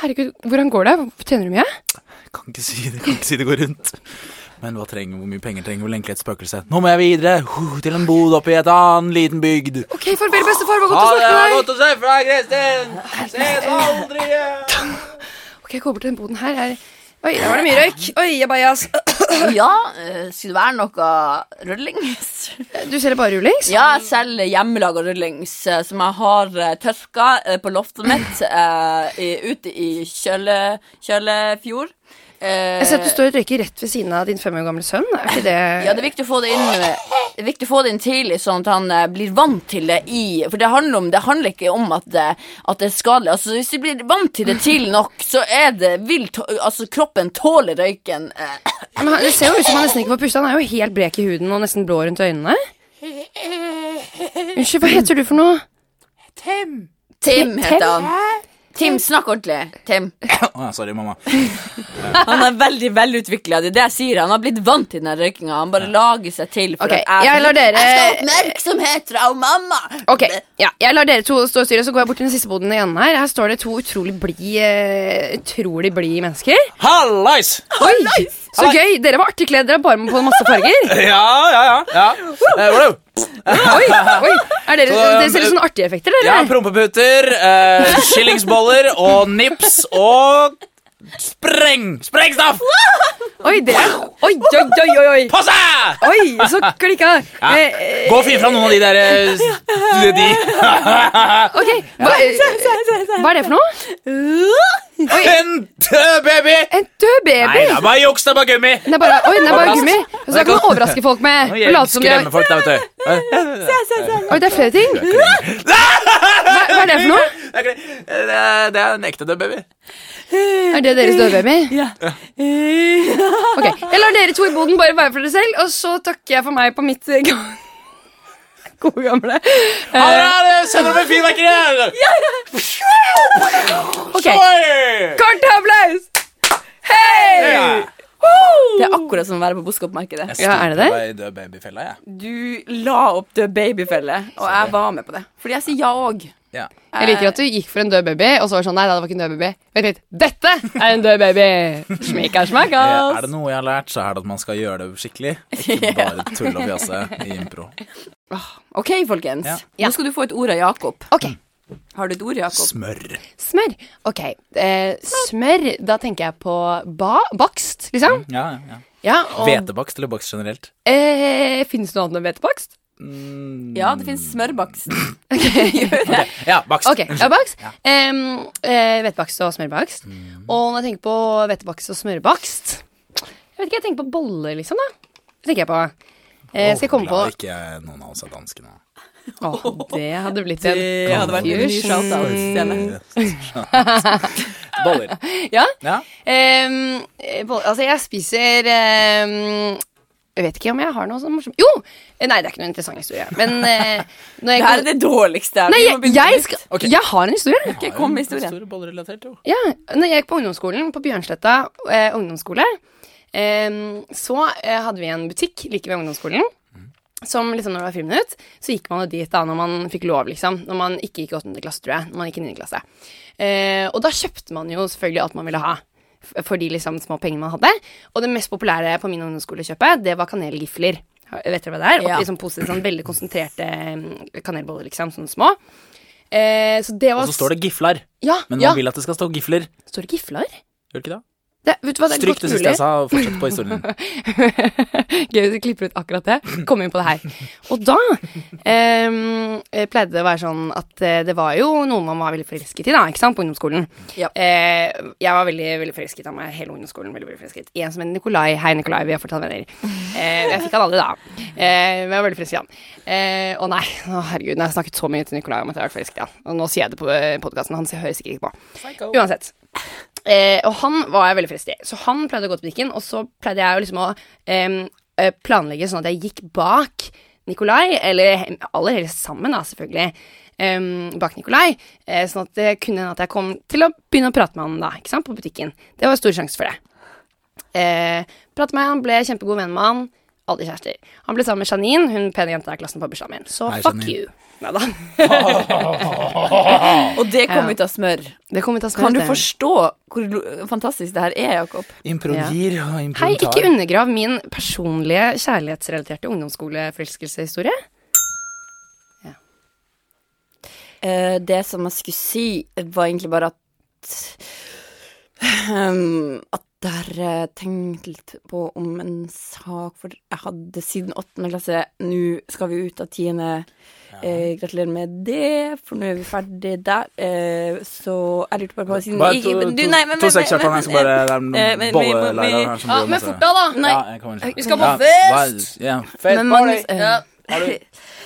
Speaker 1: Herregud, hvordan går det? Tjener du mye?
Speaker 6: Kan ikke si det, kan ikke si det går rundt. Men hva trenger, hvor mye penger trenger vel egentlig et spøkelse? Nå må jeg videre huh, til en bod oppe i et annen liten bygd.
Speaker 1: Ok, farvel, bestefar, hva godt å snakke med deg!
Speaker 6: å se fra deg, Kristin! Ses aldri igjen!
Speaker 1: Ok, jeg går bort til den boden her. her. Oi, der var det mye røyk. Oi, jeg bajas.
Speaker 2: Ja, eh, skulle det være noe rullings?
Speaker 1: Du selger bare rullings?
Speaker 2: Ja, jeg selger hjemmelaga rullings eh, som jeg har eh, tørka eh, på loftet mitt eh, i- ute i Kjøle, Kjølefjord. Eh,
Speaker 1: Jeg ser at du står og røyker rett ved siden av din fem år gamle sønn. Er ikke det
Speaker 2: Eh, Ja, det er viktig å få det inn med det er viktig å få det inn tidlig, sånn at han eh, blir vant til det i For det handler, om, det handler ikke om at det, at det er skadelig. Altså, hvis du blir vant til det tidlig nok, så er det vil tå- Altså, kroppen tåler røyken. eh.
Speaker 1: Men han, det ser jo ut som han nesten ikke får puste. Han er jo helt blek i huden og nesten blå rundt øynene. Unnskyld, hva heter du for noe?
Speaker 2: Tim heter han. Tim, snakk ordentlig. Tim.
Speaker 6: Å, sorry, mamma.
Speaker 2: Han er veldig velutvikla. Det er det jeg sier. Han har blitt vant til den røykinga. Han bare lager seg til. For
Speaker 1: Ok, jeg lar dere
Speaker 2: oppmerksomhet fra mamma.
Speaker 1: Ok, ja, Jeg lar dere to stå og styre, så går jeg bort til den siste boden igjen her. Her står det to utrolig blid eh, utrolig blid mennesker.
Speaker 6: Hallais!
Speaker 1: Oi, Så gøy! Dere var artig kledd. Dere har bare med på masse farger.
Speaker 6: Ja, ja, ja. ja. Eh, hvordan?
Speaker 1: Oi, oi. Er dere,
Speaker 6: Så,
Speaker 1: dere ser ut som sånne artige effekter,
Speaker 6: Ja,
Speaker 1: dere.
Speaker 6: prompeputer, eh, skillingsboller og nips og spreng! Sprengstoff!
Speaker 1: Oi, dere. Oi, oi, oi, oi, oi.
Speaker 6: På seg!
Speaker 1: Oi, så klikka.
Speaker 6: Ja.
Speaker 1: Eh, eh,
Speaker 6: Gå og finn fram noen av de der eh, s- de.
Speaker 1: ok, hva, eh, hva er det for noe?
Speaker 6: En død eh, baby!
Speaker 1: En død
Speaker 6: Nei,
Speaker 1: baby?
Speaker 6: det er bare juks, det er bare gummi.
Speaker 1: Den er bare, oi, den er bare gummi. Så da kan man overraske folk med
Speaker 6: Nå
Speaker 1: å late som de har
Speaker 6: Skremme folk, da, vet du. Eh,
Speaker 1: Oi, det er flere ting. Hva, hva er det for noe?
Speaker 6: Det er ikke det. Det er- det er en ekte død baby.
Speaker 1: Er det deres dødbaby? Ja. Ok, Jeg lar dere to i boden bare være for dere selv, og så takker jeg for meg på mitt eh, ga- gode gamle.
Speaker 6: Ha
Speaker 1: Eh,
Speaker 6: det! Send dem en fyrverkeri! her.
Speaker 1: Ok,
Speaker 6: Oi!
Speaker 1: Kort applaus! Hei!
Speaker 6: Ja.
Speaker 2: Det er akkurat som å være på Boskopmarkedet.
Speaker 1: Ja, er det det?
Speaker 6: Jeg var i død babyfella, jeg.
Speaker 2: Du la opp død babyfelle, og jeg var med på det. Fordi jeg sier ja òg.
Speaker 6: Ja.
Speaker 1: Jeg liker at du gikk for en død baby, og så var det sånn Nei, det var ikke en død baby. Vent litt. Dette er en død baby! Smikka, smikka.
Speaker 6: Eh, Er det noe jeg har lært, så er det at man skal gjøre det skikkelig. Ikke bare tulle og fjase i impro.
Speaker 2: OK, folkens.
Speaker 1: Ja.
Speaker 2: Nå skal du få et ord av Jakob.
Speaker 1: Ok,
Speaker 2: Har du et ord, Jakob?
Speaker 6: Smør.
Speaker 1: smør. Ok, eh, smør. Da tenker jeg på ba bakst, liksom.
Speaker 6: Ja, ja, ja.
Speaker 1: Ja, og
Speaker 6: Hvetebakst eller bakst generelt?
Speaker 1: eh, Fins det noe annet enn hvetebakst?
Speaker 2: Ja, det fins smørbakst.
Speaker 6: Ja, bakst.
Speaker 1: Ok, ja, bakst. Em, eh, hvetebakst og smørbakst.
Speaker 2: Mm.
Speaker 1: Og når jeg tenker på hvetebakst og smørbakst Jeg vet ikke, jeg tenker på boller, liksom. da Det tenker jeg på. Eh, skal jeg komme på
Speaker 6: Glad ikke noen av oss er danske nå.
Speaker 1: Åh, Det hadde blitt en
Speaker 2: Det hadde vært en ny shout-out, Stine.
Speaker 6: Boller.
Speaker 1: Ja.
Speaker 6: Ja.
Speaker 1: Em, eh, boll- altså, jeg spiser em, Jeg vet ikke om jeg har noe sånn morsomt Jo! Eh, Nei, det er ikke noen interessant historie. Men eh, når jeg
Speaker 2: Det her er det dårligste.
Speaker 1: Nei,
Speaker 2: Vi må
Speaker 1: jeg,
Speaker 2: begynne
Speaker 1: jeg,
Speaker 2: på
Speaker 1: skal,
Speaker 2: nytt.
Speaker 1: jeg har en historie.
Speaker 2: Ok, kom med historien.
Speaker 6: Store bollrelatert, jo.
Speaker 1: Ja, når jeg gikk på ungdomsskolen på Bjørnsletta eh, ungdomsskole, em, så eh, hadde vi en butikk like ved ungdomsskolen. Som liksom når det var friminutt, så gikk man jo dit da når man fikk lov, liksom. Når man ikke gikk i åttende klasse, tror jeg. Når man gikk i niende klasse. Eh, og da kjøpte man jo selvfølgelig alt man ville ha. f- For de liksom små pengene man hadde. Og det mest populære på min ungdomsskolekjøpet, det var kanelgifler. Ha- Vet dere hva det er?
Speaker 2: Ja.
Speaker 1: Oppi sånn pose, sånn veldig konsentrerte em, kanelboller, liksom. Sånne små. Eh, så det var
Speaker 6: Og så står det giflar.
Speaker 1: Ja,
Speaker 6: Men man
Speaker 1: ja.
Speaker 6: vil at det skal stå gifler.
Speaker 1: Står det gifler?
Speaker 6: Gjør det ikke det?
Speaker 1: Det, vet du hva, det er
Speaker 6: Stryk det
Speaker 1: godt
Speaker 6: siste
Speaker 1: mulig.
Speaker 6: jeg sa, og fortsett på historien.
Speaker 1: Gøy hvis du klipper ut akkurat det. Kom inn på det her. Og da em, eh, pleide det å være sånn at eh, det var jo noen man var veldig forelsket i, da, ikke sant, på ungdomsskolen.
Speaker 2: Ja.
Speaker 1: Eh, jeg var veldig veldig forelsket av meg hele ungdomsskolen. veldig, veldig forelsket. En som het Nikolai. Hei, Nikolai, vi er fortsatt venner. Eh, jeg fikk han aldri, da. Eh, men jeg var veldig forelsket i han. Eh, å nei, å, herregud, nå har jeg snakket så mye til Nikolai om at jeg har vært forelsket i han. Og nå sier jeg det på eh, podkasten, han hører sikkert ikke på. Uansett. Eh, og han var jeg veldig fristig. Så han pleide å gå til butikken, og så pleide jeg jo liksom å em, eh, planlegge sånn at jeg gikk bak Nikolai, eller he- aller helst sammen, da, selvfølgelig, em, bak Nikolai. Eh, sånn at det kunne hende at jeg kom til å begynne å prate med han da, ikke sant, på butikken. Det var stor sjanse for det. Eh, prate med han, ble kjempegod venn med han. Aldri kjærester. Han ble sammen med Janine, hun pene jenta i klassen på bursdagen min. Så
Speaker 6: Hei,
Speaker 1: fuck
Speaker 6: Janine.
Speaker 1: you. Neida.
Speaker 2: Og det kom
Speaker 1: Ja.
Speaker 2: ut av smør.
Speaker 1: Det kommer til å
Speaker 2: Kan du
Speaker 1: spørre.
Speaker 2: forstå hvor lo- fantastisk det her er, Jakob?
Speaker 6: Impro
Speaker 1: Ja.
Speaker 6: gir og
Speaker 1: Hei,
Speaker 6: impro
Speaker 1: ikke
Speaker 6: tar.
Speaker 1: undergrav min personlige kjærlighetsrelaterte ungdomsskoleforelskelseshistorie.
Speaker 2: Eh, det som jeg skulle si, var egentlig bare at ehm, At der eh, tenkte litt på om en sak, for jeg hadde siden åttende klasse. Nå skal vi ut av tiende. Eh, gratulerer med det, for nå er vi ferdig der. Eh, så jeg lurte bare på siden
Speaker 3: Bare
Speaker 2: ikke-
Speaker 3: to-
Speaker 2: men du,
Speaker 3: to-
Speaker 2: nei, men-
Speaker 3: To
Speaker 2: men-
Speaker 3: seks kjapt,
Speaker 2: men-
Speaker 3: jeg skal bare Det er
Speaker 2: eh, men-
Speaker 3: en
Speaker 2: men-
Speaker 3: bolleleier her som
Speaker 1: Ja,
Speaker 3: blir
Speaker 1: men
Speaker 3: med
Speaker 1: fort Ah, da, da.
Speaker 2: Nei.
Speaker 3: Ja, jeg kommer ikke.
Speaker 1: Vi skal på
Speaker 3: Ja,
Speaker 1: fest!
Speaker 3: hva- Ja, fest
Speaker 2: Men
Speaker 3: party!
Speaker 2: Magnus, eh,
Speaker 1: Ja.
Speaker 3: Er du-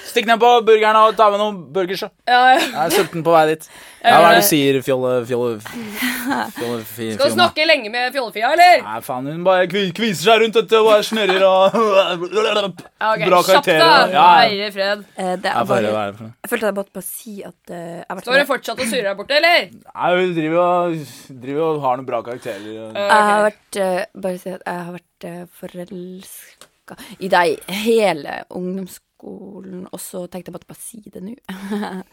Speaker 3: Stikk ned på burgeren og ta med noen burgers. da.
Speaker 1: Ja, ja.
Speaker 3: Jeg er sulten på vei dit. Ja, hva er det du sier, fjolle... Fjolle... fjolle fi-
Speaker 1: Skal du
Speaker 3: fjolle-
Speaker 1: snakke lenge med fjollefia, eller?
Speaker 3: Nei, faen, hun bare kvi- kviser seg rundt dette og bare snørrer og
Speaker 1: Ja, ok.
Speaker 3: Bra
Speaker 1: Kjapt,
Speaker 3: karakterer.
Speaker 1: da.
Speaker 3: og- Ja, ja.
Speaker 1: Herre fred.
Speaker 2: eh, det
Speaker 3: Jeg
Speaker 2: er
Speaker 3: får høre
Speaker 2: bare,
Speaker 3: hva er det for noe.
Speaker 2: jeg følte jeg måtte bare si at eh, jeg har vært
Speaker 1: Står det fortsatt og surrer der borte, eller?
Speaker 3: Nei, hun driver og, driver og har noen bra karakterer. og-
Speaker 2: Jeg har vært eh, Bare si at jeg har vært uh, forelska i deg hele ungdomsskolen, og så tenkte jeg bare å bare si det nå.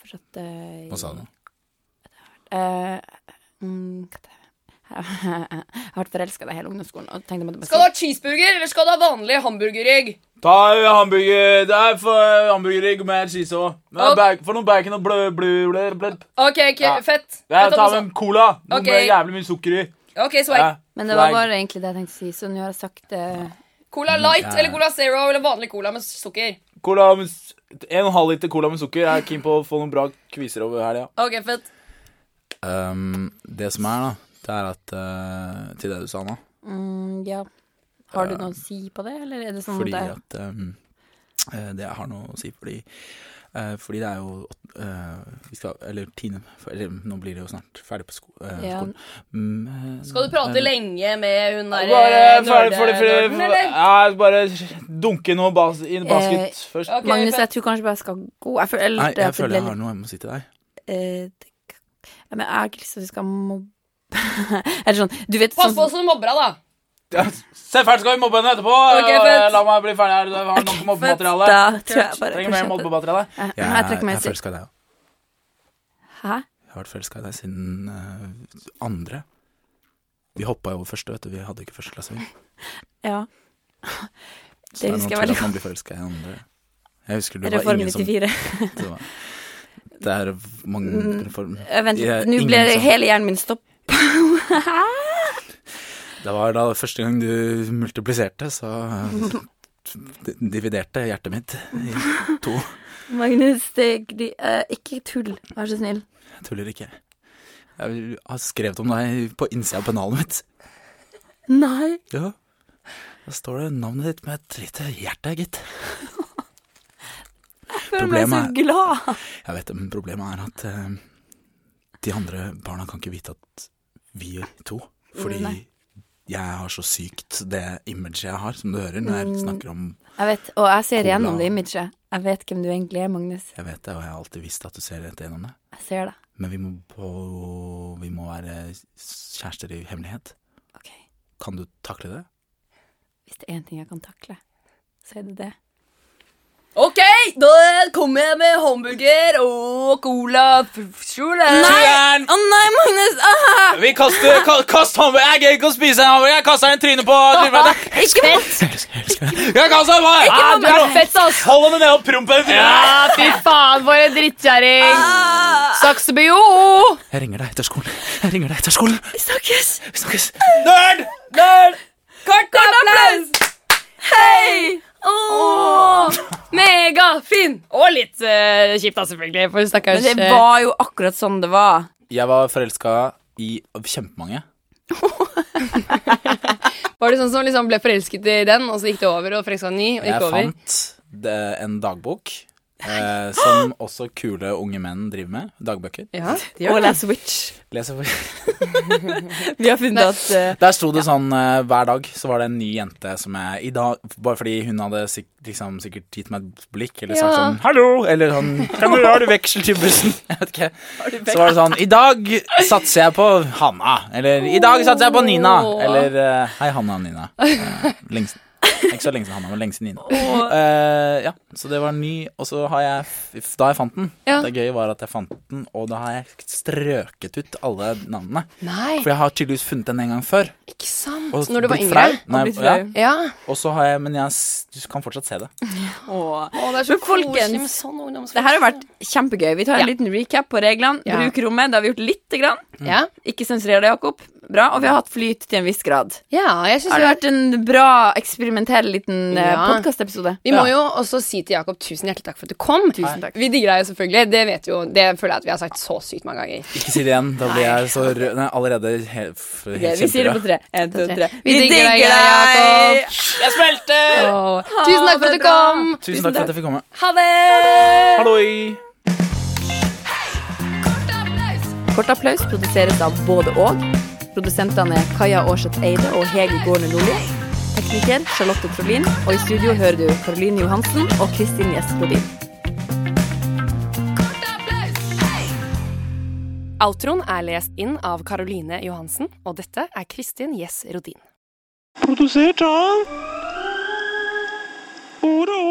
Speaker 2: For at eh,
Speaker 3: Hva sa du?
Speaker 2: eh, mm, hva det- jeg har vært forelska i deg hele ungdomsskolen. Og tenkte jeg måtte bare
Speaker 1: Skal du
Speaker 2: si
Speaker 1: ha cheeseburger, eller skal du ha vanlig hamburgerrygg?
Speaker 3: Ta hamburger Der får eh, hamburgerrygg med cheese òg.
Speaker 1: Ok.
Speaker 3: Få noe bacon og blø, blø, blø, blø.
Speaker 1: OK, ok,
Speaker 3: Ja.
Speaker 1: fett.
Speaker 3: Jeg
Speaker 1: Fett at
Speaker 3: tar
Speaker 1: du
Speaker 3: med en cola. Noe
Speaker 1: Ok.
Speaker 3: med jævlig mye sukker i.
Speaker 1: sa- OK, swag.
Speaker 3: Ja,
Speaker 2: Men det var
Speaker 3: swag.
Speaker 2: bare egentlig det jeg tenkte å si, så nå har jeg sagt eh, det.
Speaker 1: Cola light
Speaker 3: Ja.
Speaker 1: eller Cola Zero eller vanlig cola med sukker.
Speaker 3: Cola med s- En og en halv liter cola med sukker. Jeg er keen på å få noen bra kviser over helga.
Speaker 1: OK, fett.
Speaker 3: Ehm, det som er, da, det er at eh, Til det du sa nå.
Speaker 2: Mm, ja. Har du noe å si på det, eller er det sånn
Speaker 3: Fordi
Speaker 2: at jeg-
Speaker 3: at ehm, eh, Det jeg har noe å si fordi eh, fordi det er jo åt- eh, vi skal, Eller tiende for- eller, Nå blir det jo snart ferdig på sko, eh,
Speaker 2: Ja.
Speaker 3: skolen. Mm, Men-
Speaker 1: Skal du prate lenge med hun der
Speaker 3: Bare,
Speaker 1: eh,
Speaker 3: ferdig, fordi,
Speaker 1: nerde- nerden,
Speaker 3: fordi,
Speaker 1: eller?
Speaker 3: ja, bare dunke noe bas i basket
Speaker 2: Eh,
Speaker 3: først.
Speaker 1: ok.
Speaker 2: Magnus,
Speaker 1: fett.
Speaker 2: jeg tror kanskje bare jeg skal gå. Jeg føler,
Speaker 3: Nei, jeg
Speaker 2: at det
Speaker 3: føler
Speaker 2: ble
Speaker 3: jeg
Speaker 2: litt-
Speaker 3: har noe jeg må si til deg.
Speaker 2: Eh, det, ja, men jeg har ikke lyst til at vi skal mobbe Eller sånn, du vet
Speaker 1: Pass
Speaker 2: sånn
Speaker 1: på så du mobber henne, da.
Speaker 3: Selvfølgelig skal vi mobbe henne etterpå.
Speaker 1: Ok,
Speaker 3: og,
Speaker 1: fett.
Speaker 3: La meg bli ferdig her. Jeg har nok mobbemateriale.
Speaker 2: Da tror jeg bare
Speaker 3: Trenger mer
Speaker 2: kanskje at-
Speaker 3: mobbemateriale.
Speaker 2: Eh, Jeg trekker meg selv.
Speaker 3: forelska i deg.
Speaker 2: Hæ?
Speaker 3: Jeg har vært forelska i deg siden eh, andre. Vi hoppa jo over første, vet du. Vi hadde ikke første klasse.
Speaker 2: Ja.
Speaker 3: Det
Speaker 2: Det
Speaker 3: er
Speaker 2: husker
Speaker 3: noe
Speaker 2: jeg
Speaker 3: til
Speaker 2: veldig
Speaker 3: at
Speaker 2: godt.
Speaker 3: man blir forelska i andre. Jeg husker det var
Speaker 2: Reform
Speaker 3: ingen som
Speaker 2: 94.
Speaker 3: det, var, det er mange reform...
Speaker 2: Eh, Vent
Speaker 3: Det er
Speaker 2: litt, nå
Speaker 3: ingen
Speaker 2: ble
Speaker 3: som-
Speaker 2: hele hjernen min stopp.
Speaker 3: Det var da første gang du multipliserte, så eh, dividerte hjertet mitt i to.
Speaker 2: Magnus, det, de, eh, ikke tull, vær så snill.
Speaker 3: Jeg tuller ikke. Jeg har skrevet om deg på innsida av pennalet mitt.
Speaker 2: Nei.
Speaker 3: Ja. Da står det navnet ditt med et lite hjerte, gitt.
Speaker 2: Jeg ble så
Speaker 3: Problemet
Speaker 2: glad.
Speaker 3: Jeg vet det, men problemet er at eh, de andre barna kan ikke vite at vi to Fordi
Speaker 2: Nei.
Speaker 3: jeg har så sykt det imaget jeg har, som du hører når
Speaker 2: Mm.
Speaker 3: jeg snakker om
Speaker 2: Jeg vet, og jeg ser
Speaker 3: Cola.
Speaker 2: gjennom det imaget. Jeg vet hvem du egentlig er, Magnus.
Speaker 3: Jeg vet det, og jeg har alltid visst at du ser rett gjennom det.
Speaker 2: Jeg ser det.
Speaker 3: Men vi må, på, vi må være kjærester i hemmelighet.
Speaker 2: Ok,
Speaker 3: Kan du takle det?
Speaker 2: Hvis det er én ting jeg kan takle, så er det det.
Speaker 1: OK, da kommer jeg med hamburger og cola Skjule.
Speaker 2: Nei! Å nei, Magnus! Ah!
Speaker 3: Vi kaster ka, Kast hamburger! Jeg gidder ikke å spise en hamburger! Jeg kaster den i trynet på
Speaker 2: Ikke fett!
Speaker 3: Jeg kaster den på
Speaker 1: Ikke
Speaker 3: Ah, du
Speaker 1: hamburger.
Speaker 3: er-
Speaker 1: Fett, ass.
Speaker 3: Hold henne ned og promp henne i trynet!
Speaker 1: Ja, fy faen, for en drittkjerring. Saksebyo.
Speaker 3: Jeg ringer deg etter skolen. Jeg ringer deg etter skolen.
Speaker 2: Vi snakkes!
Speaker 3: Vi snakkes. Nerd! Nerd!
Speaker 1: Kort applaus. Hei! Åh, Megafin! Og litt eh, kjipt, da, selvfølgelig, for stakkars
Speaker 2: Men det
Speaker 1: eh,
Speaker 2: var jo akkurat sånn det var.
Speaker 3: Jeg var forelska i kjempemange.
Speaker 1: Var det sånn som liksom ble forelsket i den, og så gikk det over, og forelska i en ny, og
Speaker 3: Jeg
Speaker 1: gikk over?
Speaker 3: fant det, en dagbok eh, som også kule unge menn driver med. Dagbøker.
Speaker 1: Ja, det
Speaker 2: Og
Speaker 1: gjør det.
Speaker 2: Last Witch.
Speaker 3: Leser
Speaker 2: Vi har funnet at eh,
Speaker 3: Der sto det sånn eh, hver dag så var det en ny jente som jeg i dag Bare fordi hun hadde sik liksom, sikkert gitt meg et blikk eller sagt sånn 'hallo' eller sånn 'kan du, har du veksel til bussen?' Jeg vet ikke. Så var det sånn 'i dag satser jeg på Hanna'. Eller 'i dag satser jeg på Nina'. Eller eh, 'hei, Hanna og Nina'. Eh, lengst. Ikke så lenge siden Hanna, men lenge siden Nina. Eh, ja, så det var ny, og så har jeg f- Da jeg fant den,
Speaker 1: Ja.
Speaker 3: det gøye var at jeg fant den, og da har jeg strøket ut alle navnene.
Speaker 1: Nei,
Speaker 3: For jeg har tydeligvis funnet den en gang før.
Speaker 1: ikke sant.
Speaker 3: Og
Speaker 1: Når du var
Speaker 3: blitt
Speaker 1: yngre.
Speaker 3: flau. Nei,
Speaker 2: blitt
Speaker 3: ja,
Speaker 2: flau.
Speaker 1: Ja.
Speaker 3: og så har jeg Men jeg s- du kan fortsatt se det.
Speaker 2: Åh.
Speaker 1: Å, det er så
Speaker 2: Men folkens,
Speaker 1: koselig med sånn ungdomsfølelse.
Speaker 2: Det her har vært kjempegøy. Vi tar en liten recap på reglene.
Speaker 1: Ja.
Speaker 2: Bruk rommet. Det har vi gjort lite grann.
Speaker 1: Ja,
Speaker 2: Ikke sensurer det, Jakob. Bra. Og vi har hatt flyt til en viss grad.
Speaker 1: ja jeg synes
Speaker 2: Har
Speaker 1: det
Speaker 2: det
Speaker 1: har vært
Speaker 2: vært en bra eksperimentell liten eh, ja.
Speaker 1: Ja.
Speaker 2: podkastepisode?
Speaker 1: Vi må
Speaker 3: Ja.
Speaker 1: jo også si til Jakob tusen hjertelig takk for at du kom.
Speaker 2: Tusen takk.
Speaker 1: Vi digger deg jo selvfølgelig. Det vet jo, det føler jeg at vi har sagt så sykt mange ganger.
Speaker 3: Ikke si det igjen. Da blir jeg så rød Nei, allerede helt, f- helt
Speaker 2: Vi sier det på
Speaker 3: kjemperød.
Speaker 2: tre. En, to, tre.
Speaker 1: Vi digger deg, Jakob.
Speaker 3: Jeg smelter!
Speaker 1: Åh, Tusen takk for at
Speaker 2: det
Speaker 1: du
Speaker 2: bra.
Speaker 1: kom.
Speaker 3: Tusen takk for at jeg fikk komme.
Speaker 2: Ha det!
Speaker 3: Halloi!
Speaker 2: Kort applaus produseres av både og. Produsentene er Kaja Aarseth Eide og Hege Gården Nordli. Tekniker Charlotte Trolin. Og i studio hører du Karoline Johansen og Kristin Gjest Rodin.
Speaker 1: Outroen er lest inn av Caroline Johansen, og dette er Kristin Gjess Rodin.
Speaker 7: produziert av Ordet